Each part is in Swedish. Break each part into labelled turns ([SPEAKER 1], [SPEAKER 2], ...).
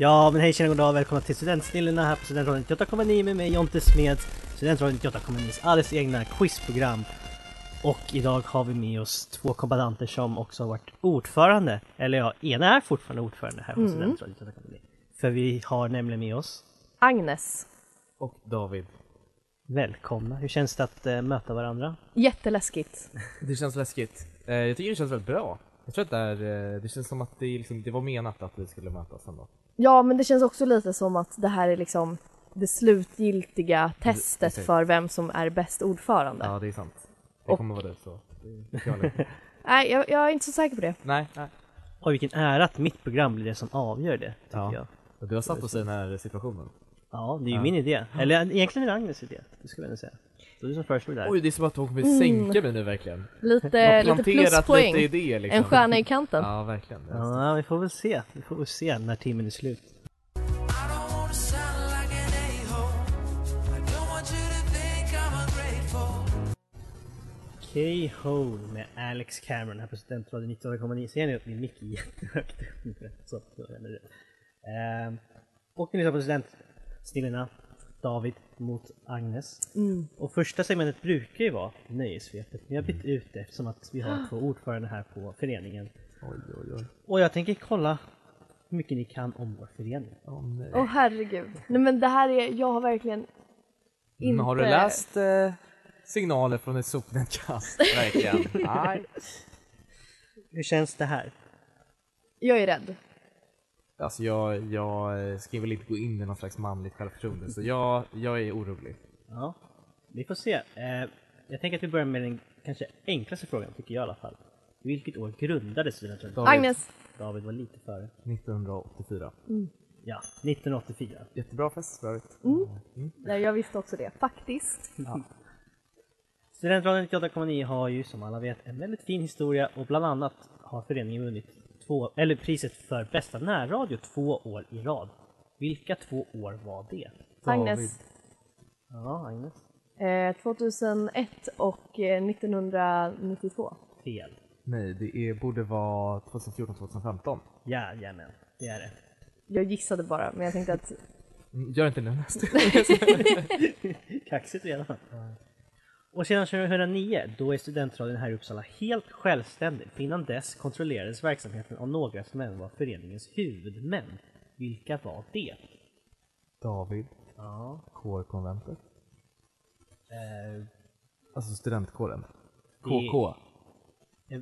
[SPEAKER 1] Ja, men hej tjena, god dag. Välkomna till Studentsnillena här på Studentradion 98,9 med mig Jonte Smeds, Studentradion 98,9s alldeles egna quizprogram. Och idag har vi med oss två kombattanter som också har varit ordförande, eller ja, ena är fortfarande ordförande här på Studentradion 98,9. För vi har nämligen med oss,
[SPEAKER 2] Agnes.
[SPEAKER 3] Och David.
[SPEAKER 1] välkomna, hur känns det att eh, möta varandra?
[SPEAKER 2] Jätteläskigt.
[SPEAKER 3] Det känns läskigt. Eh, jag tycker det känns väldigt bra. Jag tror att det, är, eh, det känns som att det, är liksom, det var menat att vi skulle mötas ändå.
[SPEAKER 2] Ja, men det känns också lite som att det här är liksom det slutgiltiga testet
[SPEAKER 3] precis.
[SPEAKER 2] för vem som är bäst ordförande.
[SPEAKER 3] Ja, det är sant. Det
[SPEAKER 2] Och-
[SPEAKER 3] kommer vara du så. det är jag lugnt.
[SPEAKER 2] Nej, jag, jag är inte så säker på det.
[SPEAKER 3] nej, nej.
[SPEAKER 1] Och vilken ära att mitt program blir det som avgör det, tycker
[SPEAKER 3] Ja.
[SPEAKER 1] jag.
[SPEAKER 3] Du har satt oss i den här situationen.
[SPEAKER 1] Ja, det är ju min idé. Eller eh, egentligen är det Agnes idé, det skulle jag ändå säga. Det var du som föreslog det här.
[SPEAKER 3] Eh, Oj, det är som att hon kommer sänka mig nu verkligen.
[SPEAKER 2] Mm. Eh, Lite, lite pluspoäng.
[SPEAKER 3] lite idéer liksom.
[SPEAKER 2] En stjärna i kanten.
[SPEAKER 3] Ja, verkligen.
[SPEAKER 1] Ja, vi får väl se. Vi får väl se när timmen är slut.
[SPEAKER 4] I don't wanna sound like an a-hole. I don't want you to think I'm ungrateful.
[SPEAKER 1] K-Hole med Alex Cameron här på Studentradion 98,9. Ser ni att min mick är jättehögt uppe? Så, då är det rätt. Ehm, och ni lyssnar på Studentsnillena, David mot Agnes. Och första segmentet brukar ju vara nöjesvepet, men jag har bytt ut det eftersom att vi har två ordförande här på föreningen.
[SPEAKER 3] Oj, oj, oj.
[SPEAKER 1] Och jag tänker kolla hur mycket ni kan om vår förening.
[SPEAKER 3] Åh, nej.
[SPEAKER 2] Åh herregud. Nej men det här är, jag har verkligen
[SPEAKER 3] Men Mm, har du
[SPEAKER 2] inte-
[SPEAKER 3] läst eh, signaler från ett sopnedkast? Verkligen. nej.
[SPEAKER 1] Hur känns det här?
[SPEAKER 2] Jag är rädd.
[SPEAKER 3] Alltså jag, jag eh, ska väl inte gå in i någon slags manligt självförtroende, så jag, jag är orolig.
[SPEAKER 1] Ja, vi får se. Eh, jag tänker att vi börjar med den kanske enklaste frågan, tycker jag i alla fall. Vilket år grundades Studentradion?
[SPEAKER 3] David.
[SPEAKER 2] Agnes,
[SPEAKER 1] David var lite före.
[SPEAKER 3] 1984.
[SPEAKER 2] Mm.
[SPEAKER 1] Ja, 1984.
[SPEAKER 3] Jättebra fest för övrigt.
[SPEAKER 2] nej jag visste också det. Faktiskt.
[SPEAKER 1] Studentradion 98,9 har ju som alla vet en väldigt fin historia och bland annat har föreningen vunnit två, eller priset för bästa närradio två år i rad. Vilka två år var det?
[SPEAKER 2] Agnes,
[SPEAKER 1] Ja, Agnes.
[SPEAKER 2] eh, 2001 och eh, 1992.
[SPEAKER 1] Fel.
[SPEAKER 3] Nej, det är, borde vara 2014-2015.
[SPEAKER 1] Jajamän, det är det.
[SPEAKER 2] Jag gissade bara, men jag tänkte att
[SPEAKER 3] Mm, Gör inte det nästa.
[SPEAKER 1] Kaxigt redan. Och sedan 2009, då är studentradion här i Uppsala helt självständig. Innan dess kontrollerades verksamheten av några som även var föreningens huvudmän. Vilka var det?
[SPEAKER 3] David,
[SPEAKER 1] Ja,
[SPEAKER 3] kårkonventet.
[SPEAKER 1] eh,
[SPEAKER 3] Alltså studentkåren. KK.
[SPEAKER 1] eh,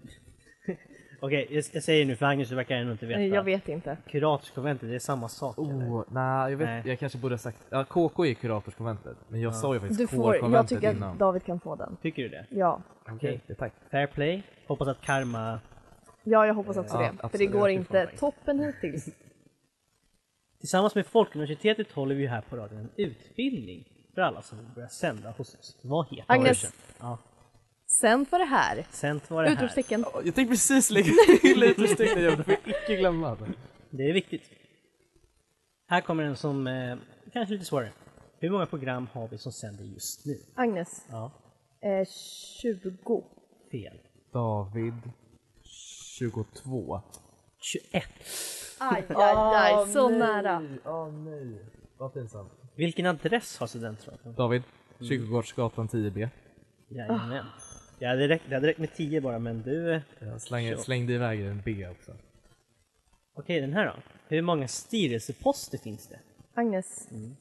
[SPEAKER 1] Okej, jag, jag säger nu för Agnes, du verkar ändå inte veta.
[SPEAKER 2] nej, jag vet inte.
[SPEAKER 1] Kuratorskonventet, det är samma sak eller?
[SPEAKER 3] Oh, nej, jag, vet,
[SPEAKER 1] Nej.
[SPEAKER 3] jag kanske borde ha sagt... Ja, KK är kuratorskonventet, men jag sa ju faktiskt
[SPEAKER 2] Du får, jag
[SPEAKER 3] kårkonventet
[SPEAKER 2] tycker att
[SPEAKER 3] innan.
[SPEAKER 2] David kan få den.
[SPEAKER 1] Tycker du det?
[SPEAKER 2] Ja,
[SPEAKER 1] Okej.
[SPEAKER 3] det- tack.
[SPEAKER 1] Fair play. Hoppas att karma...
[SPEAKER 2] ja jag hoppas också
[SPEAKER 3] Eh, Ja,
[SPEAKER 2] det. För det
[SPEAKER 3] absolut.
[SPEAKER 2] går
[SPEAKER 3] Jag tycker
[SPEAKER 2] inte
[SPEAKER 3] fan
[SPEAKER 2] toppen hittills.
[SPEAKER 1] Tillsammans med Folkuniversitetet håller vi här på radion en utbildning för alla som vill börja sända hos oss. Vad heter
[SPEAKER 2] Agnes.
[SPEAKER 1] kursen? Ja,
[SPEAKER 2] Sen var det här.
[SPEAKER 1] sent var det här.
[SPEAKER 2] Utropstecken.
[SPEAKER 3] Jag tänkte precis lägga till utropstecknet, jag får icke glömma. det.
[SPEAKER 1] Det är viktigt. Här kommer en som eh, kanske är lite svårare. Hur många program har vi som sänder just nu?
[SPEAKER 2] Agnes,
[SPEAKER 1] Ja,
[SPEAKER 2] eh, 20.
[SPEAKER 1] fel.
[SPEAKER 3] David, 22.
[SPEAKER 1] 21.
[SPEAKER 2] Aj, aj, aj, så nära.
[SPEAKER 3] Åh nej, vad pinsamt.
[SPEAKER 1] Vilken adress har studentradion?
[SPEAKER 3] David, Kyrkogårdsgatan 10B.
[SPEAKER 1] Jajamän. Det hade, räckt, det hade räckt med 10 bara men du... eh,
[SPEAKER 3] Jag slängde,
[SPEAKER 1] Så.
[SPEAKER 3] slängde iväg en B också.
[SPEAKER 1] Okej den här då. Hur många styrelseposter finns det?
[SPEAKER 2] Agnes,
[SPEAKER 3] Mm.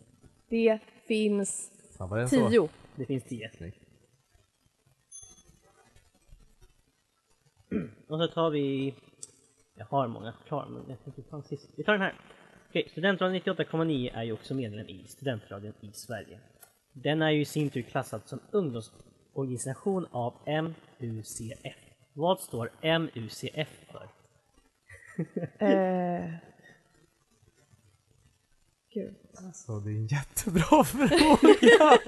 [SPEAKER 2] det finns
[SPEAKER 3] Fan, var det en så?
[SPEAKER 2] tio.
[SPEAKER 1] Det finns 10.
[SPEAKER 3] Snyggt.
[SPEAKER 1] Och så tar vi... Jag har många klar men jag tänkte ta en sist. Vi tar den här. Okej, Studentradion 98,9 är ju också medlem i Studentradion i Sverige. Den är ju i sin tur klassad som ungdomsorganisation av MUCF. Vad står MUCF för?
[SPEAKER 2] Eh, gud.
[SPEAKER 3] Så det är en jättebra fråga!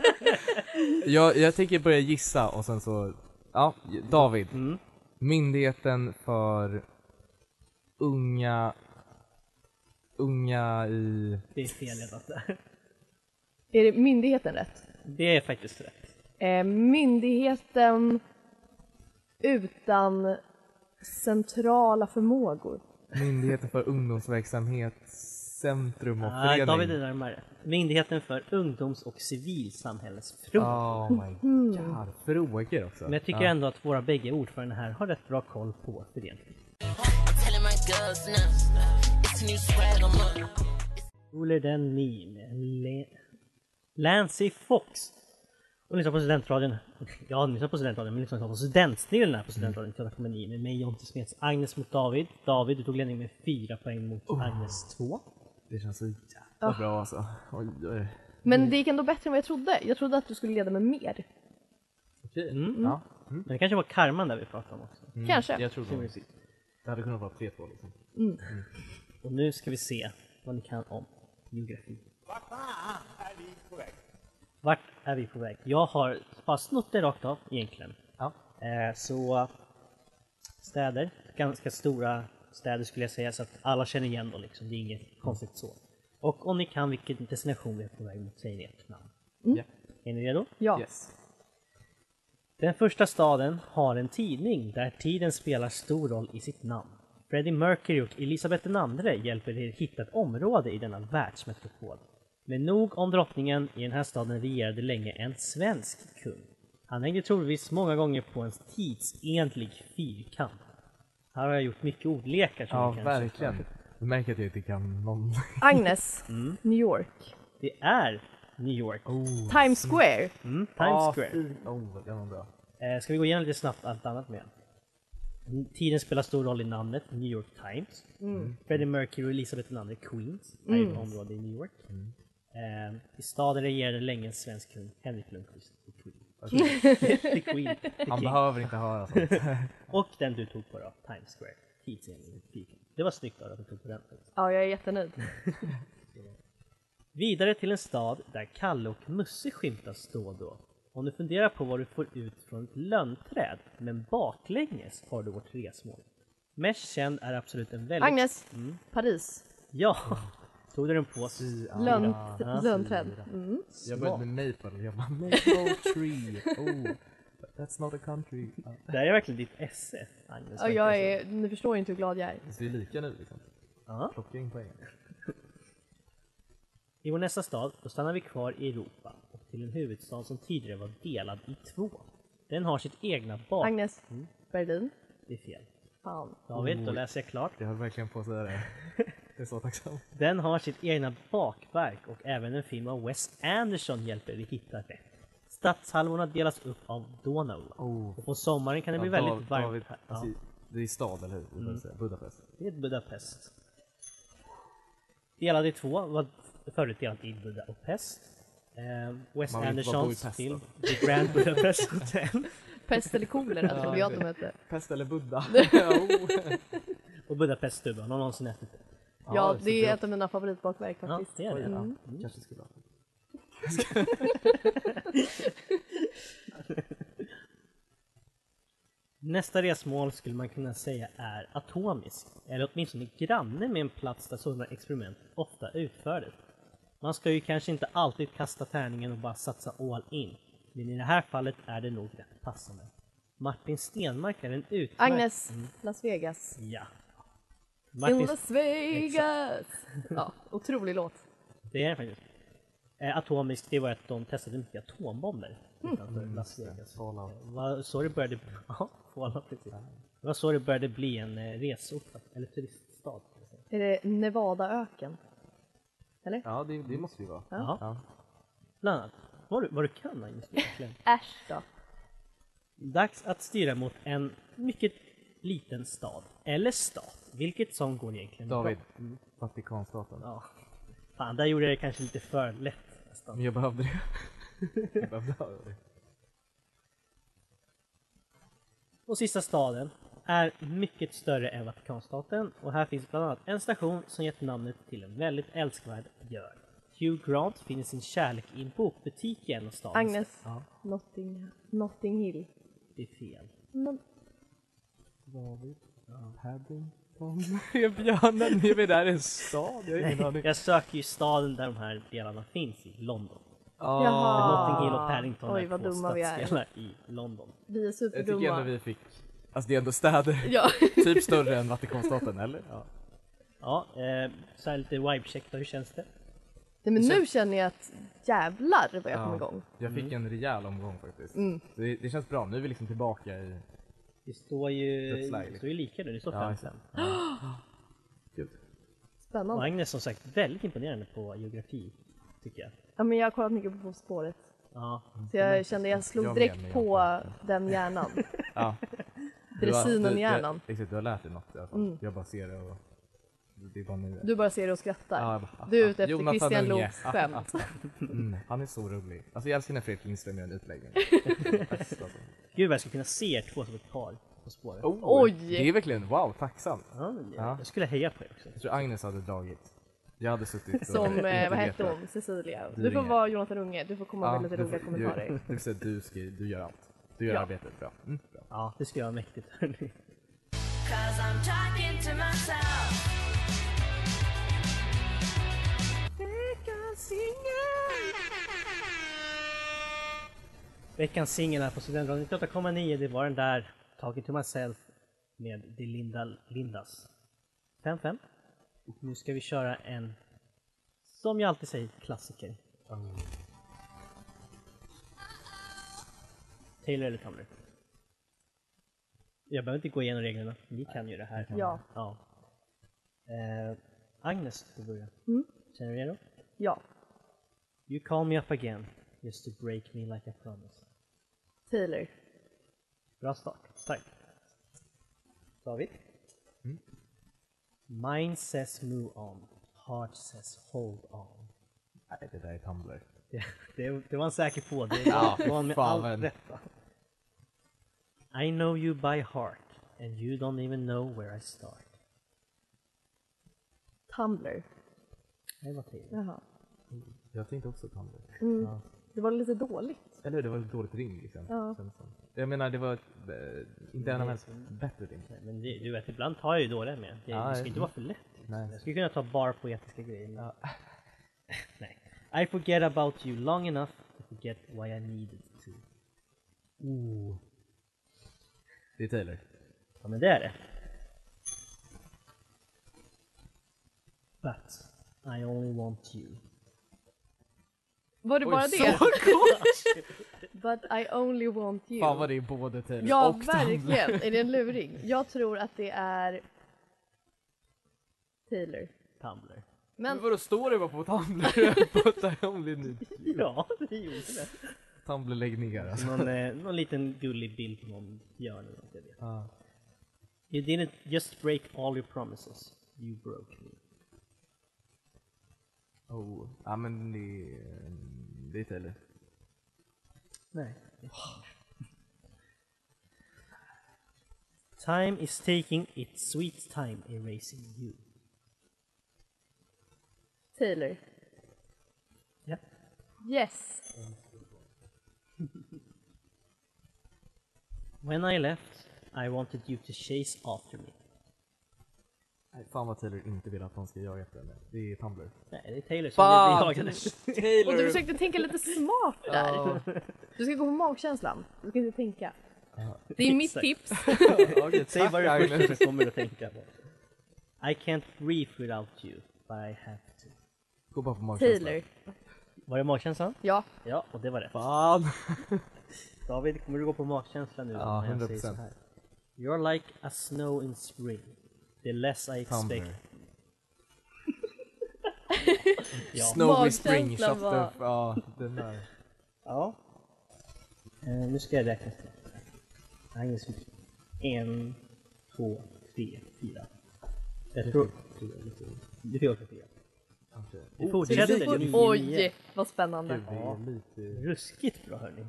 [SPEAKER 3] jag, jag tänker börja gissa och sen så... Ja, David.
[SPEAKER 1] Mm.
[SPEAKER 3] Myndigheten för unga... Unga i...
[SPEAKER 1] Det är fel redan där.
[SPEAKER 2] Är det myndigheten rätt?
[SPEAKER 1] Det är faktiskt rätt.
[SPEAKER 2] Eh, myndigheten utan centrala förmågor.
[SPEAKER 3] Myndigheten för ungdomsverksamhet, centrum och
[SPEAKER 1] Ah,
[SPEAKER 3] förening.
[SPEAKER 1] David är närmare. Myndigheten för ungdoms och civilsamhällesfrågor.
[SPEAKER 3] Oh my god. Frågor också.
[SPEAKER 1] Men jag tycker
[SPEAKER 3] ja.
[SPEAKER 1] ändå att våra bägge ordförande här har rätt bra koll på föreningen.
[SPEAKER 5] telling my girls now. It's new swag, I'm up.
[SPEAKER 1] Cooler than me med Le- Lancy Fox. Och lyssna på studentradion. Ja, ni lyssnar på studentradion, men lyssna på studentsnillen här på studentradion 98,9 med mig Jonte Smeds, Agnes mot David. David, du tog ledning med fyra poäng mot Agnes två.
[SPEAKER 3] Det känns så jävla bra alltså. Oj, oj.
[SPEAKER 2] Men
[SPEAKER 3] Mm.
[SPEAKER 2] det gick ändå bättre än vad jag trodde. Jag trodde att du skulle leda med mer.
[SPEAKER 3] Okej. Mm.
[SPEAKER 1] Mm.
[SPEAKER 3] Ja.
[SPEAKER 1] Men det kanske var karman där vi pratade om också.
[SPEAKER 3] Mm.
[SPEAKER 2] Kanske.
[SPEAKER 3] Jag tror det. Det hade kunnat vara 3-2 liksom.
[SPEAKER 1] Och nu ska vi se vad ni kan om geografi. Vart är vi på väg? Jag har bara snott det rakt av egentligen.
[SPEAKER 3] Ja.
[SPEAKER 1] Eh, så städer, ganska stora städer skulle jag säga så att alla känner igen dem liksom. Det är inget konstigt så. Och om ni kan vilken destination vi är på väg mot säger ni ert namn.
[SPEAKER 3] Ja.
[SPEAKER 1] Är ni redo?
[SPEAKER 2] Ja.
[SPEAKER 3] Yes.
[SPEAKER 1] Den första staden har en tidning där tiden spelar stor roll i sitt namn. Freddie Mercury och Elisabeth II hjälper er hitta ett område i denna världsmetropol. Men nog om drottningen, i den här staden regerade länge en svensk kung. Han hängde troligtvis många gånger på en tidsenlig fyrkant. Här har jag gjort mycket ordlekar. som
[SPEAKER 3] Ja,
[SPEAKER 1] ni kanske-
[SPEAKER 3] verkligen. Du märker att jag inte kan någon...
[SPEAKER 2] Agnes, New York.
[SPEAKER 1] Det är New York.
[SPEAKER 2] Times Square.
[SPEAKER 1] Mm, Times
[SPEAKER 3] Oh, Ah,
[SPEAKER 1] Square.
[SPEAKER 3] fy- Oh, det var bra.
[SPEAKER 1] Eh, ska vi gå igenom lite snabbt allt annat med? Tiden spelar stor roll i namnet New York Times. Freddie Mercury och Elizabeth II Queens är ju ett område i New York.
[SPEAKER 3] Mm.
[SPEAKER 1] Eh, I staden regerade länge en svensk kung, Henrik Lundqvist. The Queen. the Queen. The
[SPEAKER 3] Han
[SPEAKER 1] King.
[SPEAKER 3] behöver inte höra sånt.
[SPEAKER 1] Och den du tog på då, Times Square. Tidsenlig fyrkant. Det var snyggt av dig att du tog på den.
[SPEAKER 2] Ja, jag är jättenöjd.
[SPEAKER 1] Vidare till en stad där Kalle och Musse skymtas då och då. Om du funderar på vad du får ut från ett lönnträd, men baklänges har du vårt resmål. Mest känd är absolut en väldigt...
[SPEAKER 2] Agnes, Paris.
[SPEAKER 1] Ja! Tog du den på sig?
[SPEAKER 2] Lön, lönträd. Mm.
[SPEAKER 3] Jag började med maple. Jag bara maple tree. Oh, but that's not a country. Ja.
[SPEAKER 1] Det här är verkligen ditt esse, Agnes.
[SPEAKER 2] Ja, jag är, ni förstår ju inte hur glad jag är.
[SPEAKER 3] Så vi är lika nu liksom.
[SPEAKER 1] Ja.
[SPEAKER 3] Plocka in poäng.
[SPEAKER 1] I vår nästa stad, då stannar vi kvar i Europa och till en huvudstad som tidigare var delad i två. Den har sitt egna bak...
[SPEAKER 2] Agnes, Berlin.
[SPEAKER 1] Det är fel.
[SPEAKER 2] Fan.
[SPEAKER 1] David, då läser jag klart.
[SPEAKER 3] Jag höll verkligen på att säga det. Jag är så tacksam.
[SPEAKER 1] Den har sitt egna bakverk och även en film av Wes Anderson hjälper vi hitta rätt. Stadshalvorna delas upp av Donau.
[SPEAKER 3] Oh.
[SPEAKER 1] Och på sommaren kan det bli väldigt varmt.
[SPEAKER 3] David,
[SPEAKER 1] här. Mm.
[SPEAKER 3] alltså, Det är stad, eller hur? Vi behöver säga Budapest.
[SPEAKER 1] Det är Budapest. Delad i två, var förut delat i Budapest. Eh, Wes
[SPEAKER 3] Man vill inte bara bo i
[SPEAKER 1] Andersons
[SPEAKER 3] Pest,
[SPEAKER 1] film The Grand Budapest Hotel
[SPEAKER 2] Pest eller kolera trodde jag att de hette.
[SPEAKER 3] Pest eller Buddha? oh.
[SPEAKER 1] och Budapest Stubbe. Har någon någonsin ätit det?
[SPEAKER 2] Ja, det är ett av mina favoritbakverk
[SPEAKER 1] Ja,
[SPEAKER 2] faktiskt.
[SPEAKER 1] det är det.
[SPEAKER 3] Kanske skulle ha.
[SPEAKER 1] Nästa resmål skulle man kunna säga är atomisk, eller åtminstone granne med en plats där sådana experiment ofta utfördes. Man ska ju kanske inte alltid kasta tärningen och bara satsa all in, men i det här fallet är det nog rätt passande. Martin Stenmark är en utmärkt...
[SPEAKER 2] Agnes, Las Vegas.
[SPEAKER 1] Ja.
[SPEAKER 2] In
[SPEAKER 1] Martin,
[SPEAKER 2] Las Vegas! Ja, otrolig låt.
[SPEAKER 1] det är det faktiskt. Eh, atomiskt, det var att de testade mycket atombomber utanför Las Vegas.
[SPEAKER 3] Fallout.
[SPEAKER 1] Det var så det började, ja, Fallout, precis. Det var så det började bli en eh, resort, eller turiststad. kan jag säga.
[SPEAKER 2] Är det Nevadaöken?
[SPEAKER 3] Ja, det, det måste ju vara.
[SPEAKER 1] Ja. Bland annat. Vad du, vad du kan Agnes, verkligen.
[SPEAKER 2] Äsch då.
[SPEAKER 1] Dags att styra mot en mycket liten stad, eller stat, vilket som går egentligen
[SPEAKER 3] David,
[SPEAKER 1] bra.
[SPEAKER 3] Vatikanstaten.
[SPEAKER 1] Ja. Fan, där gjorde jag det kanske lite för lätt nästan.
[SPEAKER 3] Men jag behövde det. jag behövde ha det.
[SPEAKER 1] Och sista staden är mycket större än Vatikanstaten och här finns bland annat en station som gett namnet till en väldigt älskvärd björn. Hugh Grant finner sin kärlek i en bokbutik i en av stadens...
[SPEAKER 2] Agnes.
[SPEAKER 1] Ja,
[SPEAKER 2] Notting, Notting Hill.
[SPEAKER 1] det är fel.
[SPEAKER 2] Men,
[SPEAKER 3] David, Paddington. Är björnen nere vid där en stad? Jag har ingen aning.
[SPEAKER 1] Jag söker ju staden där de här delarna finns i London.
[SPEAKER 3] Ah,
[SPEAKER 2] Jaha.
[SPEAKER 1] Notting Hill och Paddington
[SPEAKER 2] Ah, Oj,
[SPEAKER 1] är
[SPEAKER 2] vad
[SPEAKER 1] två
[SPEAKER 2] dumma vi är.
[SPEAKER 1] stadsdelar i London.
[SPEAKER 2] vi är
[SPEAKER 3] Jag tycker ändå
[SPEAKER 2] superdumma.
[SPEAKER 3] vi fick, alltså det är ändå städer,
[SPEAKER 2] Ja.
[SPEAKER 3] typ större än Vatikanstaten eller? Ja.
[SPEAKER 1] Ja, eh, så här lite vibecheck då, hur känns det?
[SPEAKER 2] Nej, men nu känner jag att jävlar vad jag kom
[SPEAKER 3] Ja.
[SPEAKER 2] igång.
[SPEAKER 3] Jag fick en rejäl omgång faktiskt.
[SPEAKER 1] Mm.
[SPEAKER 3] Så det, det känns bra, nu är vi liksom tillbaka i...
[SPEAKER 1] Det står ju,
[SPEAKER 3] That's
[SPEAKER 1] det
[SPEAKER 3] likely.
[SPEAKER 1] står ju lika nu, det står
[SPEAKER 3] Ja,
[SPEAKER 1] 5
[SPEAKER 3] exakt. Gud.
[SPEAKER 1] Och
[SPEAKER 2] Spännande.
[SPEAKER 1] Agnes som sagt väldigt imponerande på geografi, tycker jag.
[SPEAKER 2] Ja, men jag har kollat mycket på På spåret.
[SPEAKER 1] Ja,
[SPEAKER 2] Så jag kände jag slog
[SPEAKER 3] Mm. Jag med,
[SPEAKER 2] direkt
[SPEAKER 3] men jag
[SPEAKER 2] på den hjärnan.
[SPEAKER 3] Ja. Du har-
[SPEAKER 2] Dressinen
[SPEAKER 3] du-
[SPEAKER 2] i hjärnan. Mm.
[SPEAKER 3] jag- Exakt, du har lärt dig något i alla fall. Jag bara ser det och... Det är bara nu.
[SPEAKER 2] Du bara ser och skrattar.
[SPEAKER 3] Ja, jag bara-
[SPEAKER 2] Du är ute efter
[SPEAKER 3] Jonathan
[SPEAKER 2] Christian
[SPEAKER 3] Unge.
[SPEAKER 2] Loks skämt.
[SPEAKER 3] Mm, han är så rolig. Alltså jag älskar när Fredrik Lindström gör en utläggning. Alltså,
[SPEAKER 1] Gud vad jag skulle kunna se er två som ett par På spåret.
[SPEAKER 3] Oh,
[SPEAKER 2] Oj.
[SPEAKER 3] Det är verkligen, wow, tacksamt.
[SPEAKER 1] Ja, men jag-
[SPEAKER 3] Ja.
[SPEAKER 1] Jag skulle heja på er också.
[SPEAKER 3] Jag tror Agnes hade dragit. Jag hade suttit och
[SPEAKER 2] Som, eh,
[SPEAKER 3] inte
[SPEAKER 2] vad hette
[SPEAKER 3] vetat.
[SPEAKER 2] hon, Cecilia? Du
[SPEAKER 3] Dyringe.
[SPEAKER 2] får vara Jonathan Unge, du får komma
[SPEAKER 3] Ja,
[SPEAKER 2] med lite
[SPEAKER 3] du
[SPEAKER 2] roliga
[SPEAKER 3] får-
[SPEAKER 2] kommentarer.
[SPEAKER 3] Du, det vill säga, du, skriver, du gör allt. Du gör arbetet bra. Mm, bra.
[SPEAKER 1] Ja, det skulle vara mäktigt. hörni.
[SPEAKER 6] Cause I'm talking to myself.
[SPEAKER 1] Veckans singel här på Studentradion 98,9 det var den där Talking to myself med The Linda Lindas. 5-5. Och Nu ska vi köra en, som jag alltid säger, klassiker. Taylor eller Tumblr? Jag behöver inte gå igenom reglerna, ni kan ju det här.
[SPEAKER 2] Ja.
[SPEAKER 1] ja. Eh, Agnes, du börjar. Känner du dig redo?
[SPEAKER 2] Ja,
[SPEAKER 1] You call me up again, just to break me like I promise.
[SPEAKER 2] Taylor.
[SPEAKER 1] Bra start. Tack. David?
[SPEAKER 3] Mm.
[SPEAKER 1] Mine says move on. Heart says hold on.
[SPEAKER 3] Nej, det där är Tumblr.
[SPEAKER 1] Det, det, det var han säker på. Det
[SPEAKER 3] Ja,
[SPEAKER 1] var han med
[SPEAKER 3] fan,
[SPEAKER 1] all
[SPEAKER 3] men-
[SPEAKER 1] rätt. va? I know you by heart and you don't even know where I start.
[SPEAKER 2] Tumblr.
[SPEAKER 1] Det var Taylor.
[SPEAKER 2] Jaha.
[SPEAKER 3] Jag tänkte också Tumblr.
[SPEAKER 2] Mm.
[SPEAKER 3] Ja.
[SPEAKER 2] Det var lite dåligt.
[SPEAKER 3] Eller hur, det var ett dåligt rim liksom.
[SPEAKER 2] Ja.
[SPEAKER 3] känns som. Jag menar, det var ett, eh, inte en av ens bättre rim.
[SPEAKER 1] Nej, Men det, du vet, ibland tar jag ju dåliga med. Det,
[SPEAKER 3] Ja,
[SPEAKER 1] det ska
[SPEAKER 3] ja.
[SPEAKER 1] inte vara för lätt.
[SPEAKER 3] Nej.
[SPEAKER 1] Jag skulle kunna ta bara poetiska grejer. men- Nej. I forget about you long enough to forget why I needed to. Ooh.
[SPEAKER 3] Det är Taylor.
[SPEAKER 1] Ja men det är det. But I only want you.
[SPEAKER 2] Var det bara det?
[SPEAKER 3] så kort!
[SPEAKER 2] But I only want you.
[SPEAKER 3] Fan vad det är både Taylor
[SPEAKER 2] ja,
[SPEAKER 3] och Tumblr.
[SPEAKER 2] verkligen. Är det en luring? Jag tror att det är Taylor.
[SPEAKER 1] Tumblr.
[SPEAKER 3] Men
[SPEAKER 2] Men
[SPEAKER 3] vadå, står det bara på Tumblr? But I only need
[SPEAKER 1] Ja, det gjorde det.
[SPEAKER 3] Tumblr lägg ner alltså.
[SPEAKER 1] Någon, eh, någon liten gullig bild på någon björn eller något, jag vet. You didn't just break all your promises. You broke me.
[SPEAKER 3] Oh. Ja men det, är- det är Taylor.
[SPEAKER 1] Nej. Time is taking its sweet time erasing you.
[SPEAKER 2] Taylor.
[SPEAKER 1] Ja.
[SPEAKER 2] Yes.
[SPEAKER 1] When I left I wanted you to chase after me.
[SPEAKER 3] Nej, fan vad Taylor inte vill att han ska jaga efter henne. Det är Tumblr.
[SPEAKER 1] Nej, det är Taylor som blir jagad.
[SPEAKER 2] Och du försökte tänka lite smart där. Du ska gå på magkänslan. Du ska inte tänka. Det är mitt
[SPEAKER 1] Exakt.
[SPEAKER 2] tips.
[SPEAKER 3] Okej,
[SPEAKER 1] Säg vad
[SPEAKER 3] tack,
[SPEAKER 1] det
[SPEAKER 3] Agnes.
[SPEAKER 1] första som kommer att tänka på. I can't breathe without you, but I have to.
[SPEAKER 3] Gå bara på magkänslan.
[SPEAKER 2] Taylor.
[SPEAKER 1] Var det magkänslan?
[SPEAKER 2] Ja.
[SPEAKER 1] Ja, och det var rätt.
[SPEAKER 3] Fan.
[SPEAKER 1] David, kommer du gå på magkänsla nu?
[SPEAKER 3] Ja,
[SPEAKER 1] när jag säger
[SPEAKER 3] 100%.
[SPEAKER 1] så här? You're like a snow in spring. The less I expect.
[SPEAKER 3] Tumblr.
[SPEAKER 1] Ja.
[SPEAKER 3] Snowy Spring
[SPEAKER 2] Magkänslan
[SPEAKER 3] köpte...
[SPEAKER 2] var-
[SPEAKER 3] Ja, den där.
[SPEAKER 1] Ja. Eh, nu ska jag räkna. Jag har ingen syn. En, två, tre, fyra. Jag tror... Du får åka fyra. Vi fortsätter.
[SPEAKER 2] Oj,
[SPEAKER 1] Nio.
[SPEAKER 2] Oj, vad spännande.
[SPEAKER 1] Ja. Ruskigt bra hörni.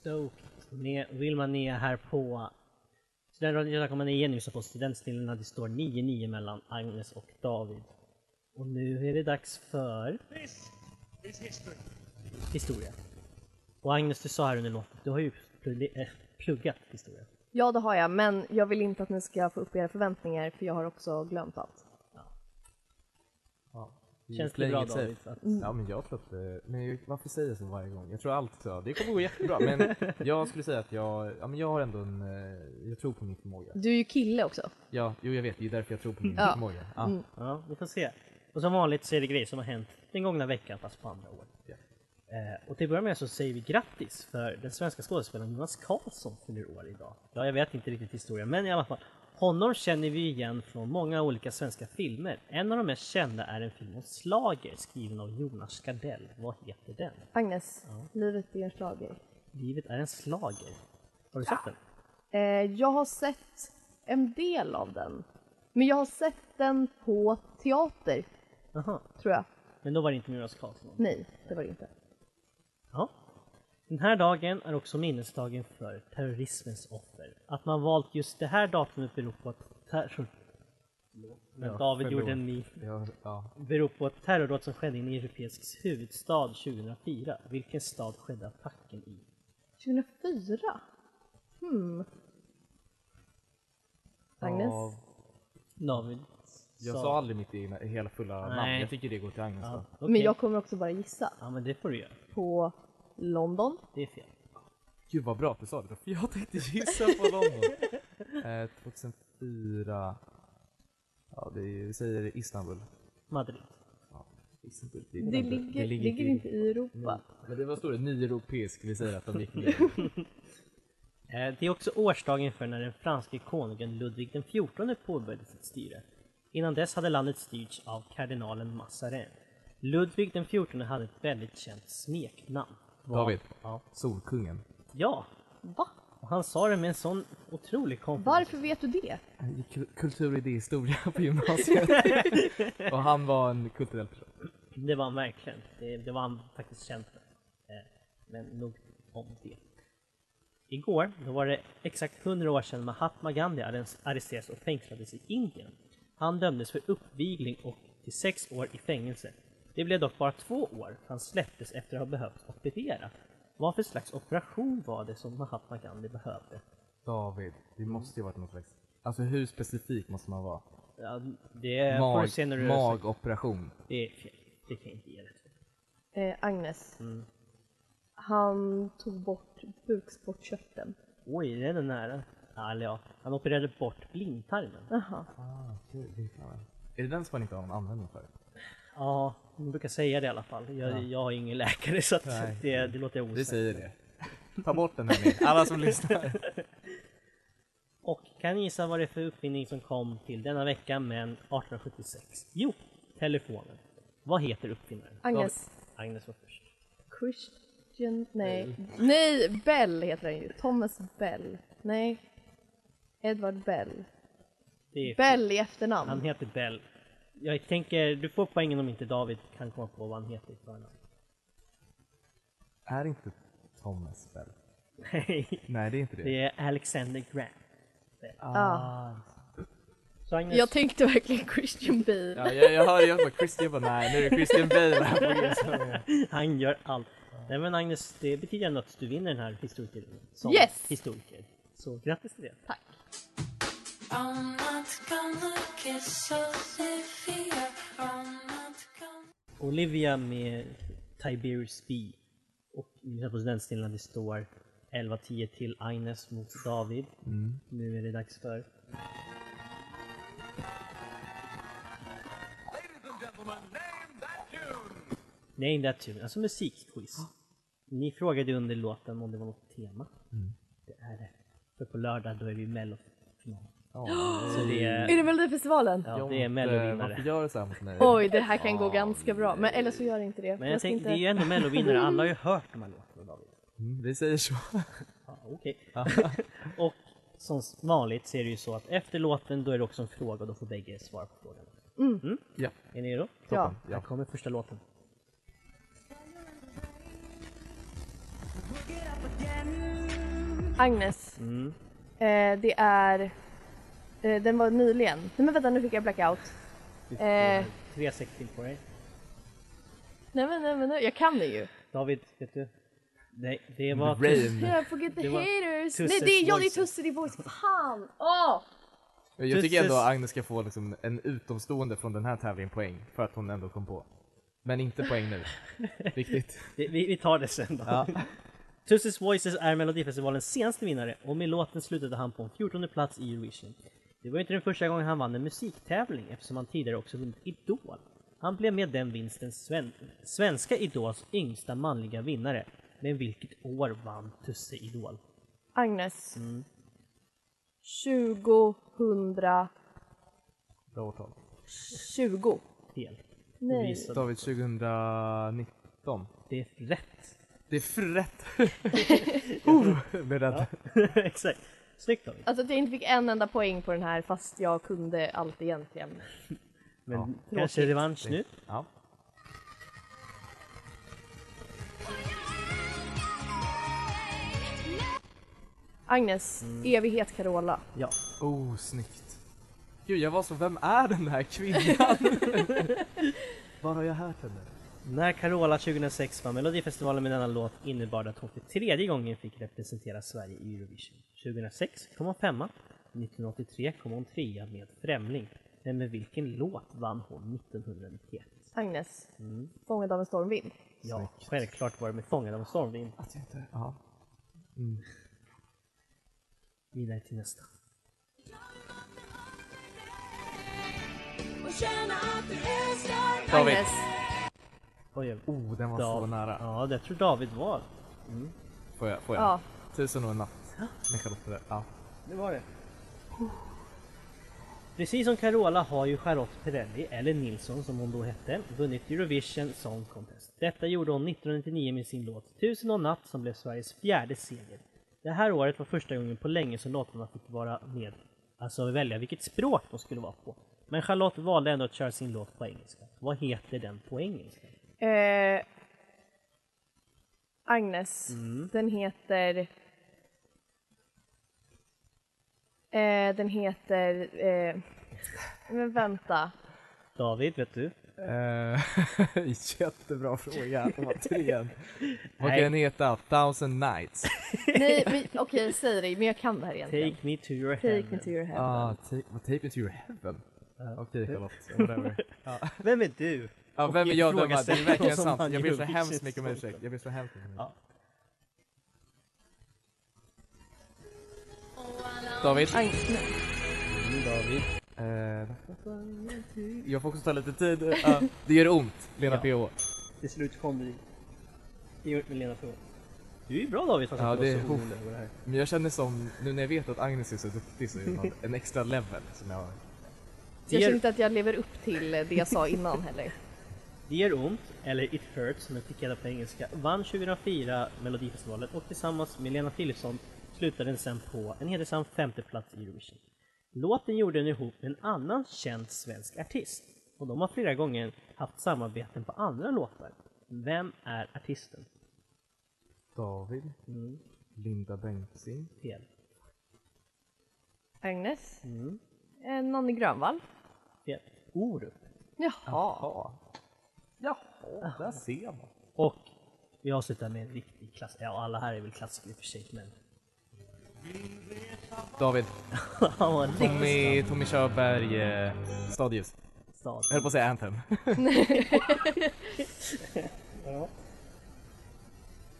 [SPEAKER 1] Stoked med Vilma Nia här på Studentradion Götakomman igen lyssnar på Studentsnillena. Det står 9-9 mellan Agnes och David. Och nu är det dags för... Historia. Och Agnes, du sa här under låten, du har ju plugg- eh, pluggat historia.
[SPEAKER 2] Ja, det har jag, men jag vill inte att ni ska få upp era förväntningar för jag har också glömt allt.
[SPEAKER 1] Känns det
[SPEAKER 3] Playing
[SPEAKER 1] bra
[SPEAKER 3] it safe.
[SPEAKER 1] David? Att...
[SPEAKER 2] Mm.
[SPEAKER 3] Ja men jag tror att det, men jag, varför säger jag så varje gång? Jag tror alltid så, det kommer gå jättebra men jag skulle säga att jag, ja men jag har ändå en, eh, jag tror på min förmåga.
[SPEAKER 2] Du är ju kille också.
[SPEAKER 3] Ja, jo jag vet, det är därför jag tror på min
[SPEAKER 2] Ja. Mm.
[SPEAKER 3] förmåga. Ja.
[SPEAKER 1] Ja, vi får se. Och som vanligt så är det grejer som har hänt den gångna veckan fast på andra år.
[SPEAKER 3] Ja.
[SPEAKER 1] Eh, och till att börja med så säger vi grattis för den svenska skådespelaren Jonas Karlsson fyller år idag. Ja, jag vet inte riktigt historien men i alla fall. Honom känner vi igen från många olika svenska filmer. En av de mest kända är en film om Slager skriven av Jonas Gardell. Vad heter den?
[SPEAKER 2] Agnes, livet är en schlager.
[SPEAKER 1] Livet är en slager. Har du sett den?
[SPEAKER 2] Eh, jag har sett en del av den. Men jag har sett den på teater,
[SPEAKER 1] Aha.
[SPEAKER 2] tror jag.
[SPEAKER 1] Men då var det inte med Jonas Karlsson.
[SPEAKER 2] Nej, det var det inte.
[SPEAKER 1] Ja. Den här dagen är också minnesdagen för terrorismens offer. Att man valt just det här datumet beror på att terror... Men David
[SPEAKER 3] förlåt.
[SPEAKER 1] gjorde en min.
[SPEAKER 3] Ja, ja.
[SPEAKER 1] Beror på ett terrordåd som skedde i en europeisk huvudstad 2004. Vilken stad skedde attacken i?
[SPEAKER 2] 2004? Hmm. Agnes?
[SPEAKER 3] Ja,
[SPEAKER 1] David?
[SPEAKER 3] jag
[SPEAKER 1] sa-
[SPEAKER 3] sa aldrig mitt egna, hela fulla namn,
[SPEAKER 1] Nej.
[SPEAKER 3] jag tycker det går till Agnes
[SPEAKER 1] Ja,
[SPEAKER 3] då.
[SPEAKER 1] okej.
[SPEAKER 2] Men jag kommer också bara gissa
[SPEAKER 1] ja men det får du göra.
[SPEAKER 2] på London.
[SPEAKER 1] Det är fel.
[SPEAKER 3] Gud vad bra att du sa det, för jag tänkte gissa på London. eh, 2004, ja det är, ju- vi säger Istanbul.
[SPEAKER 1] Madrid.
[SPEAKER 3] Ja, Istanbul det,
[SPEAKER 2] Det ligger, det ligger, inte i Europa.
[SPEAKER 3] Men det var stor nyeuropeisk, vi säger att de gick ner.
[SPEAKER 1] Eh, Det är också årsdagen för när den franske konungen Ludvig den XIV påbörjade sitt styre. Innan dess hade landet styrts av kardinalen Massarin. Ludvig den XIV hade ett väldigt känt smeknamn. Vad-
[SPEAKER 3] David.
[SPEAKER 1] Ja.
[SPEAKER 3] Solkungen.
[SPEAKER 1] ja,
[SPEAKER 2] Va?
[SPEAKER 1] och han sa det med en sån otrolig konfidens.
[SPEAKER 2] Varför vet du det?
[SPEAKER 3] Jag gick kul- Kultur och idéhistoria på gymnasiet. och han var en kulturell person.
[SPEAKER 1] Det var han verkligen. Det, det var han faktiskt känd för. Eh, Men nog om det. Igår, då var det exakt 100 år sedan Mahatma Gandhi arres- arresterades och fängslades i Indien. Han dömdes för uppvigling och till sex år i fängelse. Det blev dock bara två år, för han släpptes efter att ha behövt operera. Vad för slags operation var det som Mahatma Gandhi behövde?
[SPEAKER 3] David, det måste ju varit någon slags... Alltså hur specifik måste man vara?
[SPEAKER 1] Ja,
[SPEAKER 3] Eh,
[SPEAKER 1] det får du se när
[SPEAKER 3] Mag,
[SPEAKER 1] du...
[SPEAKER 3] magoperation.
[SPEAKER 1] Det är fel. Det kan jag inte ge rätt för.
[SPEAKER 2] Eh, Agnes. Han tog bort bukspottkörteln.
[SPEAKER 1] Oj, det är den nära. Ja, Eller ja, han opererade bort blindtarmen.
[SPEAKER 2] Jaha.
[SPEAKER 3] Ah, kul, det är fan- Är det den som man inte har någon användning för?
[SPEAKER 1] Ja, de brukar säga det i alla fall. Jag, jag är ingen läkare så att
[SPEAKER 3] Nej.
[SPEAKER 1] det, det låter
[SPEAKER 3] Vi
[SPEAKER 1] osäkert.
[SPEAKER 3] säger det. Ta bort den här ni, alla som lyssnar.
[SPEAKER 1] Och kan ni gissa vad det är för uppfinning som kom till denna vecka men 1876? Jo, telefonen. Vad heter uppfinnaren?
[SPEAKER 2] Agnes.
[SPEAKER 1] Agnes var först.
[SPEAKER 2] Christian... Nej. Nej, Bell heter han ju. Thomas Bell. Nej. Edward Bell.
[SPEAKER 1] Det är
[SPEAKER 2] Bell i
[SPEAKER 1] Han
[SPEAKER 2] efternamn.
[SPEAKER 1] heter Bell. Jag tänker, du får poängen om inte David kan komma på vad han heter i förnamn.
[SPEAKER 3] är inte Thomas väl?
[SPEAKER 1] Nej,
[SPEAKER 3] Nej, det är inte det.
[SPEAKER 1] det är Alexander Graham.
[SPEAKER 2] Ja.
[SPEAKER 1] Så Agnes,
[SPEAKER 2] Jag tänkte verkligen Christian Bale.
[SPEAKER 3] Ja, jag, jag hör ju bara Christian, jag bara nej nu är det Christian Bale här på gymnasiet.
[SPEAKER 1] han gör allt. Nej men Agnes, det betyder ändå att du vinner den här historikertiden. Som
[SPEAKER 2] Yes!
[SPEAKER 1] historiker. Så grattis till det.
[SPEAKER 2] Tack.
[SPEAKER 6] I'm not gonna kiss Olivia. I'm not gonna.
[SPEAKER 1] Olivia med Tiberius B. Och lyssnar på studentstilen det står 11-10 till Agnes mot David. Nu är det dags för... Name that tune, alltså musikquiz. Ni frågade under låten om det var något tema. Det är det. För på lördag då är det ju mellofinal. Så det
[SPEAKER 2] Är
[SPEAKER 1] är,
[SPEAKER 2] det Melodifestivalen?
[SPEAKER 1] ja, det är
[SPEAKER 3] Varför
[SPEAKER 1] mellovinnare.
[SPEAKER 3] gör du så här mot mig?
[SPEAKER 2] Oj, det här kan gå ganska bra. Men, eller så gör det inte det.
[SPEAKER 1] Men jag
[SPEAKER 2] ska
[SPEAKER 1] tänkte, det är
[SPEAKER 2] inte-
[SPEAKER 1] ju ändå mellovinnare, alla har ju hört de här låtarna David.
[SPEAKER 3] Mm, Vi säger så.
[SPEAKER 1] Ja, Okej. och som vanligt så är det ju så att efter låten då är det också en fråga och då får bägge svara på frågan.
[SPEAKER 2] Mm.
[SPEAKER 1] Mm.
[SPEAKER 3] Ja.
[SPEAKER 1] Är ni redo?
[SPEAKER 2] Ja.
[SPEAKER 1] Här kommer första låten.
[SPEAKER 2] Agnes.
[SPEAKER 1] Mm.
[SPEAKER 2] Eh, det är... Eh, den var nyligen. Nej men vänta, nu fick jag blackout.
[SPEAKER 1] Du får
[SPEAKER 2] Eh.
[SPEAKER 1] Tre sekunder på dig.
[SPEAKER 2] Nej men, nej men, nej. jag kan det ju.
[SPEAKER 1] David, vet du? Nej, det var...
[SPEAKER 3] Rain.
[SPEAKER 2] Yeah, forget the
[SPEAKER 1] Det var
[SPEAKER 2] haters.
[SPEAKER 1] Tusses
[SPEAKER 2] Nej, det är jag, det är
[SPEAKER 1] voice.
[SPEAKER 2] Tusse, det är voice. Fan! Åh!
[SPEAKER 3] Jag tycker
[SPEAKER 1] This
[SPEAKER 3] ändå
[SPEAKER 1] is-
[SPEAKER 3] att Agnes ska få liksom en utomstående från den här tävlingen poäng för att hon ändå kom på. Men inte poäng nu. Riktigt.
[SPEAKER 1] Vi, vi vi tar det sen då. Tusses Voices är Melodifestivalens senaste vinnare och med låten slutade han på en 14 plats i Eurovision. Det var inte den första gången han vann en musiktävling eftersom han tidigare också vunnit Idol. Han blev med den vinsten sven- svenska Idols yngsta manliga vinnare. Men vilket år vann Tusse Idol?
[SPEAKER 2] Agnes. 2020.
[SPEAKER 3] Bra årtal.
[SPEAKER 1] Fel.
[SPEAKER 2] Nej.
[SPEAKER 1] Visst.
[SPEAKER 3] David 2019.
[SPEAKER 1] Det är rätt.
[SPEAKER 3] Det är för rätt. oh, blev rädd.
[SPEAKER 1] Exakt. Snyggt David.
[SPEAKER 2] Alltså att jag inte fick en enda poäng på den här fast jag kunde allt egentligen.
[SPEAKER 1] Men kanske revansch nu?
[SPEAKER 3] Ja.
[SPEAKER 2] Agnes, evighet Carola.
[SPEAKER 1] Ja.
[SPEAKER 3] Oh, snyggt. Gud, jag var så, vem är den här kvinnan? Var har jag hört henne?
[SPEAKER 1] När Carola 2006 vann Melodifestivalen med denna låt innebar det att hon för tredje gången fick representera Sverige i Eurovision. 2006 kom hon femma, 1983 kom hon trea med Främling. Men med vilken låt vann hon 1991?
[SPEAKER 2] Agnes, fångad av en stormvind.
[SPEAKER 1] Ja, självklart var det med Fångad av en stormvind.
[SPEAKER 3] Att jag inte... Ja.
[SPEAKER 1] Vidare till nästa.
[SPEAKER 3] David.
[SPEAKER 2] Agnes,
[SPEAKER 1] Oj, oj.
[SPEAKER 3] Oh, den var så
[SPEAKER 1] Dav-
[SPEAKER 3] nära.
[SPEAKER 1] Ja, det tror David var.
[SPEAKER 3] Får jag? Får jag?
[SPEAKER 2] ja.
[SPEAKER 3] Tusen och en natt. Med Charlotte där. Ja.
[SPEAKER 1] Det var det. Precis som Carola har ju Charlotte Perrelli, eller Nilsson som hon då hette, vunnit Eurovision Song Contest. Detta gjorde hon 1999 med sin låt Tusen och natt som blev Sveriges fjärde seger. Det här året var första gången på länge som låtarna fick vara med, alltså välja vilket språk de skulle vara på. Men Charlotte valde ändå att köra sin låt på engelska. Vad heter den på engelska?
[SPEAKER 2] Eh, Agnes, den heter... Eh, den heter... Eh, men vänta.
[SPEAKER 1] David, vet du?
[SPEAKER 3] Eh, Jättebra fråga. Det var tre. Vad
[SPEAKER 1] Nej.
[SPEAKER 3] kan den heta? Thousand Nights.
[SPEAKER 2] Nej, men okej, säg det. Men jag kan det här egentligen.
[SPEAKER 1] Take me to your
[SPEAKER 2] Take
[SPEAKER 1] heaven.
[SPEAKER 2] me to your heaven.
[SPEAKER 3] Ah, take, well, take me to your heaven. Okej Charlotte, whatever.
[SPEAKER 1] Vem är du?
[SPEAKER 3] Ja,
[SPEAKER 1] Och
[SPEAKER 3] vem är jag? Döma? Det
[SPEAKER 1] ifrågasätter
[SPEAKER 3] är verkligen
[SPEAKER 1] vad som
[SPEAKER 3] sant.
[SPEAKER 1] han
[SPEAKER 3] Jag ber så
[SPEAKER 1] gjorde.
[SPEAKER 3] hemskt mycket om ursäkt. Jag ber så hemskt mycket om ursäkt. David?
[SPEAKER 1] Mm, David.
[SPEAKER 3] Eh, jag får också ta lite tid. Ja, det gör ont, Lena
[SPEAKER 1] Ja.
[SPEAKER 3] PH.
[SPEAKER 1] Till slut kom vi Det gjorde Lena frågan. Du är ju bra David fast
[SPEAKER 3] Ja,
[SPEAKER 1] att du
[SPEAKER 3] det
[SPEAKER 1] var
[SPEAKER 3] är
[SPEAKER 1] så orolig över det här.
[SPEAKER 3] Men jag känner som, nu när jag vet att Agnes är så duktig så är det fan en extra level som jag har.
[SPEAKER 2] jag
[SPEAKER 1] Dear-
[SPEAKER 2] känner inte att jag lever upp till det jag sa innan heller.
[SPEAKER 1] Det gör ont, eller It Hurts som jag fick reda på engelska, vann 2004 Melodifestivalen och tillsammans med Lena Philipsson slutade den sen på en hedersam femteplats i Eurovision. Låten gjorde den ihop med en annan känd svensk artist och de har flera gånger haft samarbeten på andra låtar. Vem är artisten?
[SPEAKER 3] David, Linda Bengtzing,
[SPEAKER 1] Fel.
[SPEAKER 2] Agnes?
[SPEAKER 1] Mm.
[SPEAKER 2] Eh, Nanne Grönvall?
[SPEAKER 1] Fel. Orup.
[SPEAKER 2] Jaha.
[SPEAKER 3] där ser man.
[SPEAKER 1] Och vi avslutar med en riktig klass. Ja, alla här är väl klassiker i och för sig, men...
[SPEAKER 3] David,
[SPEAKER 1] Han var en
[SPEAKER 3] Tommy, Tommy Körberg, eh, Stadljus.
[SPEAKER 1] stad.
[SPEAKER 3] Jag höll på att säga Anthem.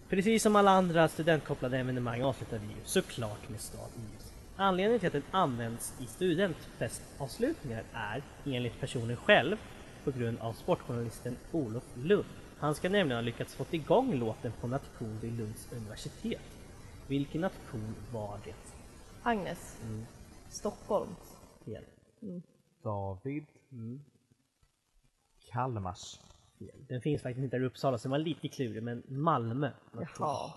[SPEAKER 1] Precis som alla andra studentkopplade evenemang avslutar vi ju såklart med stad IS. Anledningen till att den används i studentfestavslutningar är, enligt personen själv, på grund av sportjournalisten Olof Lund. Han ska nämligen ha lyckats fått igång låten på nation vid Lunds universitet. Vilken nation var det?
[SPEAKER 2] Agnes.
[SPEAKER 1] Mm.
[SPEAKER 2] Stockholms.
[SPEAKER 1] Fel.
[SPEAKER 3] David. Kalmars.
[SPEAKER 1] Fel. Den finns faktiskt inte där i Uppsala så den var lite klurig, men Malmö. nation.
[SPEAKER 2] Ja.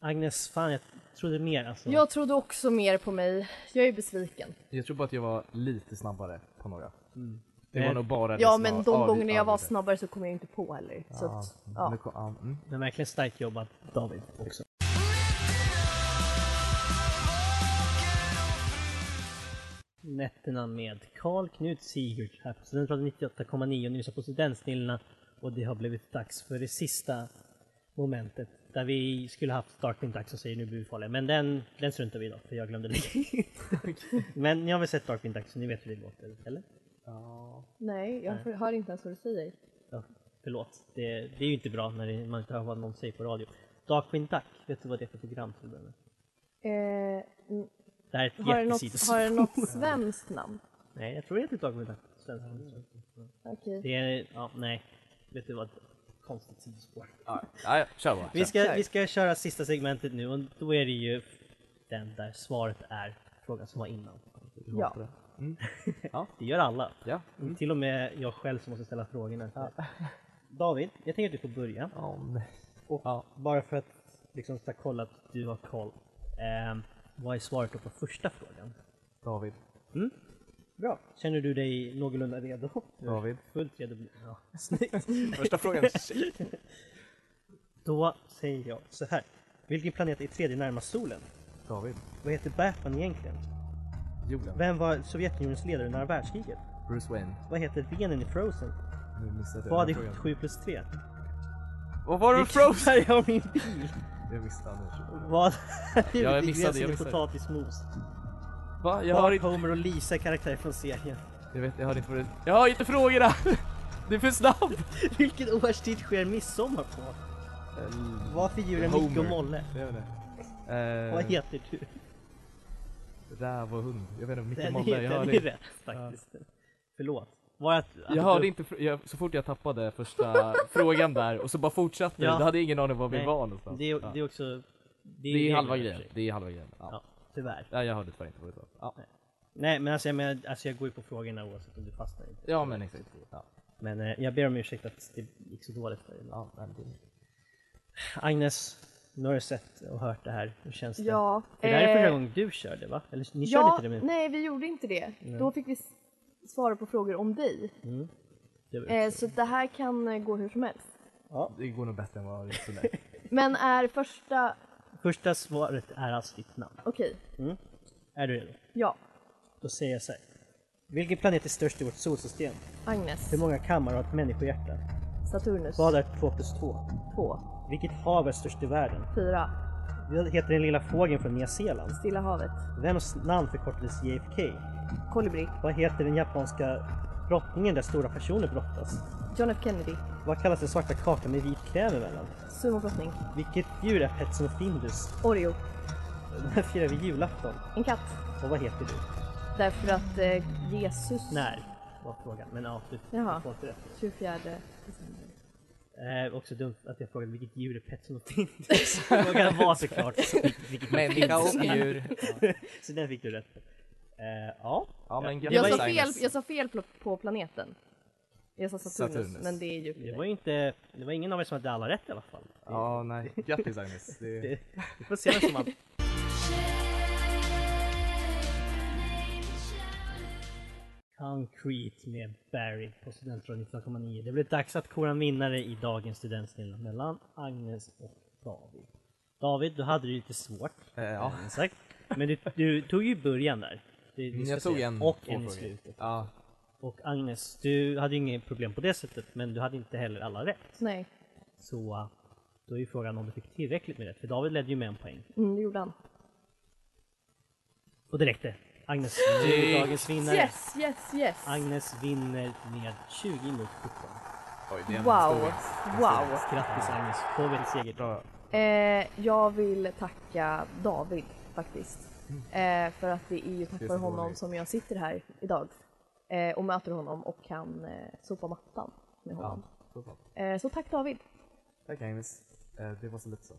[SPEAKER 1] Agnes, fan jag trodde mer alltså.
[SPEAKER 2] Jag trodde också mer på mig. Jag är besviken.
[SPEAKER 3] Jag tror bara att jag var lite snabbare på några. Det
[SPEAKER 1] Nej.
[SPEAKER 3] var nog bara det
[SPEAKER 2] Ja,
[SPEAKER 3] som
[SPEAKER 2] men
[SPEAKER 3] var-
[SPEAKER 2] de
[SPEAKER 3] vi-
[SPEAKER 2] gångerna jag
[SPEAKER 3] vi-
[SPEAKER 2] var snabbare så kom jag inte på heller. Så
[SPEAKER 3] Ja,
[SPEAKER 2] att, ja.
[SPEAKER 3] nu kom- ja, mm.
[SPEAKER 1] Men verkligen starkt jobbat David också. Nätterna med Karl Knut Sigurd här på Studentradion 98,9 och ni lyssnar på Studentsnillena och det har blivit dags för det sista momentet där vi skulle haft Darkwing Duck som säger nu blir vi farliga men den, den struntar vi i idag för jag glömde lägga in. Men ni har väl sett Darkwing Duck så ni vet hur det låter, eller?
[SPEAKER 2] Nej, jag hör inte ens vad du säger.
[SPEAKER 1] Ja, förlåt, det, det är ju inte bra när det, man inte hör vad någon säger på radio. Darkwing Duck, vet du vad det är för program till att börja med?
[SPEAKER 2] Eh, mm,
[SPEAKER 1] Det här är ett
[SPEAKER 2] har, det något,
[SPEAKER 1] jättesidospår.
[SPEAKER 2] har det något svenskt namn?
[SPEAKER 1] Nej, jag tror inte Dark Matter. Svenska.
[SPEAKER 2] Okej.
[SPEAKER 1] Det är, ja, nej. Vet du vad? Konstigt sidospår.
[SPEAKER 3] Ja, ja, kör bara.
[SPEAKER 1] Vi ska, vi ska köra sista segmentet nu och då är det ju den där svaret är frågan som var innan.
[SPEAKER 2] Ja.
[SPEAKER 1] Det gör alla.
[SPEAKER 3] Ja.
[SPEAKER 1] Till och med jag själv som måste ställa frågorna. David, jag tänker att du får börja.
[SPEAKER 3] Ja, nej.
[SPEAKER 1] Och
[SPEAKER 3] Ja.
[SPEAKER 1] bara för att liksom ska kolla att du har koll. Ehm, vad är svaret då på första frågan?
[SPEAKER 3] David.
[SPEAKER 1] Bra. Känner du dig någorlunda redo?
[SPEAKER 3] David.
[SPEAKER 1] Fullt redo. Ja.
[SPEAKER 3] Första frågan.
[SPEAKER 1] Då säger jag så här. Vilken planet är tredje närmast solen?
[SPEAKER 3] David.
[SPEAKER 1] Vad heter Batman egentligen?
[SPEAKER 3] Julen.
[SPEAKER 1] Vem var Sovjetunionens ledare under andra världskriget?
[SPEAKER 3] Bruce Wayne.
[SPEAKER 1] Vad heter venen i Frozen?
[SPEAKER 3] Nu missade jag
[SPEAKER 1] Vad är
[SPEAKER 3] den frågan.
[SPEAKER 1] 77 plus 3?
[SPEAKER 3] Vad var det för Frozen?
[SPEAKER 1] jag min bil?
[SPEAKER 3] Jag missade Anders.
[SPEAKER 1] Vad är
[SPEAKER 3] jag
[SPEAKER 1] huvudingrediensen
[SPEAKER 3] missade, jag
[SPEAKER 1] i
[SPEAKER 3] missade.
[SPEAKER 1] potatismos?
[SPEAKER 3] Va? Jag har
[SPEAKER 1] Bart,
[SPEAKER 3] inte...
[SPEAKER 1] Homer och Lisa är karaktärer från serien.
[SPEAKER 3] Jag vet, jag har inte vad det... Jag har inte frågorna! Du är för snabb!
[SPEAKER 1] Vilken årstid sker midsommar på?
[SPEAKER 3] Eh,
[SPEAKER 1] Vad för djur är
[SPEAKER 3] Homer.
[SPEAKER 1] Micke och Molle?
[SPEAKER 3] Det är det. Eh,
[SPEAKER 1] Vad heter du?
[SPEAKER 3] Räv och hund. Jag vet inte, Micke
[SPEAKER 1] Den är,
[SPEAKER 3] Molle. Jag
[SPEAKER 1] den
[SPEAKER 3] hörde
[SPEAKER 1] är
[SPEAKER 3] inte.
[SPEAKER 1] rätt faktiskt. Förlåt. Var att, att
[SPEAKER 3] Jag hörde inte, fr- jag, så fort jag tappade första frågan där och så bara fortsatte
[SPEAKER 1] Ja.
[SPEAKER 3] ja. Då hade jag ingen aning om var vi
[SPEAKER 1] Nej,
[SPEAKER 3] var någonstans.
[SPEAKER 1] Det, är-
[SPEAKER 3] ja.
[SPEAKER 1] det är också... Det
[SPEAKER 3] det är halva
[SPEAKER 1] regler i och
[SPEAKER 3] grejen.
[SPEAKER 1] för sig.
[SPEAKER 3] Det är halva grejen. Ja.
[SPEAKER 1] Ja, tyvärr.
[SPEAKER 3] Nej, jag hörde tyvärr inte vad du sa. Ja.
[SPEAKER 1] Nej men alltså jag, menar, alltså jag går ju på frågorna oavsett om du fastnar inte.
[SPEAKER 3] ja, men exakt. Ja.
[SPEAKER 1] Men eh, jag ber om ursäkt att det gick så dåligt för dig.
[SPEAKER 3] Ja, men det...
[SPEAKER 1] Agnes, nu har du sett och hört det här. Hur känns det?
[SPEAKER 2] Ja,
[SPEAKER 1] För det här är första
[SPEAKER 2] eh,
[SPEAKER 1] gången du körde va? Eller ni körde
[SPEAKER 2] ja
[SPEAKER 1] inte det men...
[SPEAKER 2] nej, vi gjorde inte det. Då fick vi s- svara på frågor om dig. Eh, så det här kan eh, gå hur som helst.
[SPEAKER 3] det går nog bättre än vad jag trodde.
[SPEAKER 2] Men är första...
[SPEAKER 1] Första svaret är alltså ditt namn.
[SPEAKER 2] Okej,
[SPEAKER 1] Är du redo?
[SPEAKER 2] ja.
[SPEAKER 1] Då säger jag så här. Vilken planet är störst i vårt solsystem?
[SPEAKER 2] Agnes.
[SPEAKER 1] Hur många kammar har ett människohjärta?
[SPEAKER 2] Saturnus.
[SPEAKER 1] Vad är 2 plus 2?
[SPEAKER 2] Två.
[SPEAKER 1] Vilket hav är störst i världen?
[SPEAKER 2] Fyra.
[SPEAKER 1] Vad heter den lilla fågeln från Nya Zeeland?
[SPEAKER 2] Stilla havet.
[SPEAKER 1] Vems namn förkortades JFK?
[SPEAKER 2] Kolibri.
[SPEAKER 1] Vad heter den japanska brottningen där stora personer brottas?
[SPEAKER 2] John F Kennedy.
[SPEAKER 1] Vad kallas den svarta kakan med vit kräm emellan?
[SPEAKER 2] Sumobrottning.
[SPEAKER 1] Vilket djur är Petson och Findus?
[SPEAKER 2] Oreo.
[SPEAKER 1] När firar vi julafton?
[SPEAKER 2] En katt.
[SPEAKER 1] Och vad heter du?
[SPEAKER 2] Därför att eh, Jesus...
[SPEAKER 1] När? Var frågan. Men ja, du
[SPEAKER 2] Jaha.
[SPEAKER 1] du får inte rätt.
[SPEAKER 2] 24
[SPEAKER 1] Eh, också dumt att jag frågade vilket djur är Petson och Findus? Frågan var såklart vilket- vilket djur
[SPEAKER 3] Människa
[SPEAKER 1] Findus
[SPEAKER 3] och
[SPEAKER 1] är.
[SPEAKER 3] djur.
[SPEAKER 1] Så den fick du rätt på. Eh, ja.
[SPEAKER 3] Ja, men
[SPEAKER 1] Ja,
[SPEAKER 2] Jag
[SPEAKER 1] var
[SPEAKER 2] sa,
[SPEAKER 1] ju-
[SPEAKER 2] fel, jag sa fel pl- på planeten. Jag sa Saturnus,
[SPEAKER 3] Saturnus.
[SPEAKER 2] men det är Jupiter.
[SPEAKER 1] Det var ju inte, det var ingen av er som hade alla rätt i alla fall.
[SPEAKER 3] Ja, nej. Grattis Agnes. Det...
[SPEAKER 1] Det- Vi får se vem som vann. Concrete med Barry på Studentradion 19,9. Det blev dags att kora en vinnare i dagens studentsnilla mellan Agnes och David. David, du hade det ju lite svårt.
[SPEAKER 3] Eh, ja.
[SPEAKER 1] eh, Exakt. Men du, du tog ju början där. Det, det ska
[SPEAKER 3] Mm, Jag tog
[SPEAKER 1] sägas.
[SPEAKER 3] en
[SPEAKER 1] Och
[SPEAKER 3] två
[SPEAKER 1] en i
[SPEAKER 3] frågor.
[SPEAKER 1] slutet.
[SPEAKER 3] Ja,
[SPEAKER 1] Och Agnes, du hade ju inget problem på det sättet, men du hade inte heller alla rätt.
[SPEAKER 2] Nej,
[SPEAKER 1] Så eh, då är ju frågan om du fick tillräckligt med rätt, för David ledde ju med en poäng.
[SPEAKER 2] mm, det gjorde han.
[SPEAKER 1] Och det räckte. Agnes, du är dagens vinnare.
[SPEAKER 2] Yes, yes, yes!
[SPEAKER 1] Agnes vinner med 20 mot 17.
[SPEAKER 3] Oj, det är en
[SPEAKER 2] Wow.
[SPEAKER 3] stor-
[SPEAKER 2] Wow.
[SPEAKER 1] Grattis Agnes, på en seger.
[SPEAKER 3] Bra.
[SPEAKER 2] Eh, jag vill tacka David faktiskt. Eh, för att det är ju tack
[SPEAKER 3] Mm. Det är
[SPEAKER 2] vare
[SPEAKER 3] så
[SPEAKER 2] honom
[SPEAKER 3] dåligt.
[SPEAKER 2] som jag sitter här idag. Eh, och möter honom och kan eh, sopa mattan med honom.
[SPEAKER 3] Så fan.
[SPEAKER 2] Eh, så tack David.
[SPEAKER 3] Tack Agnes. Eh, Det var så lite så.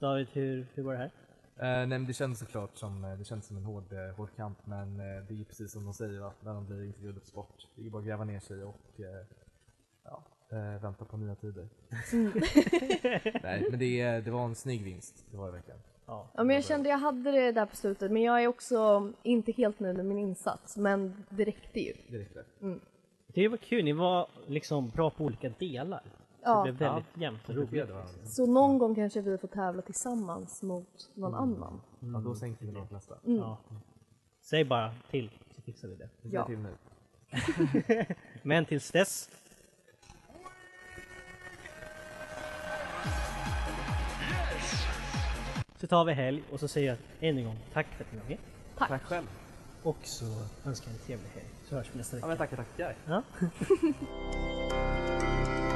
[SPEAKER 1] David, hur, hur var det här?
[SPEAKER 3] Eh, nej, men det kändes såklart som, eh, det kändes som en hård, eh, hård kamp men eh, det är ju precis som de säger va, när de blir intervjuade på sport. Det är ju bara att gräva ner sig och eh, ja, eh, vänta på nya tider. Mm. nej, men det, eh, det var en snygg vinst, det var det verkligen.
[SPEAKER 1] Ja.
[SPEAKER 2] Ja, men jag kände jag hade det där på slutet men jag är också inte helt nöjd med min insats men det räckte ju.
[SPEAKER 3] Det räckte.
[SPEAKER 1] Det var kul, ni var liksom bra på olika delar.
[SPEAKER 2] Ja.
[SPEAKER 1] Det blev väldigt jämnt och roligt.
[SPEAKER 3] Det var, mm.
[SPEAKER 2] Så någon gång kanske vi får tävla tillsammans mot någon
[SPEAKER 3] Mm.
[SPEAKER 2] annan.
[SPEAKER 3] ja, då sänker vi något nästa.
[SPEAKER 1] Ja. Säg bara till så fixar vi det.
[SPEAKER 3] Vi
[SPEAKER 2] Ja.
[SPEAKER 3] ser till nu.
[SPEAKER 1] Men tills dess så tar vi helg och så säger jag än en gång tack för att ni var med.
[SPEAKER 3] Tack. själv.
[SPEAKER 1] Och så önskar jag en trevlig helg. Så hörs vi nästa vecka.
[SPEAKER 3] Ja, men tackar, tackar.
[SPEAKER 1] Ja.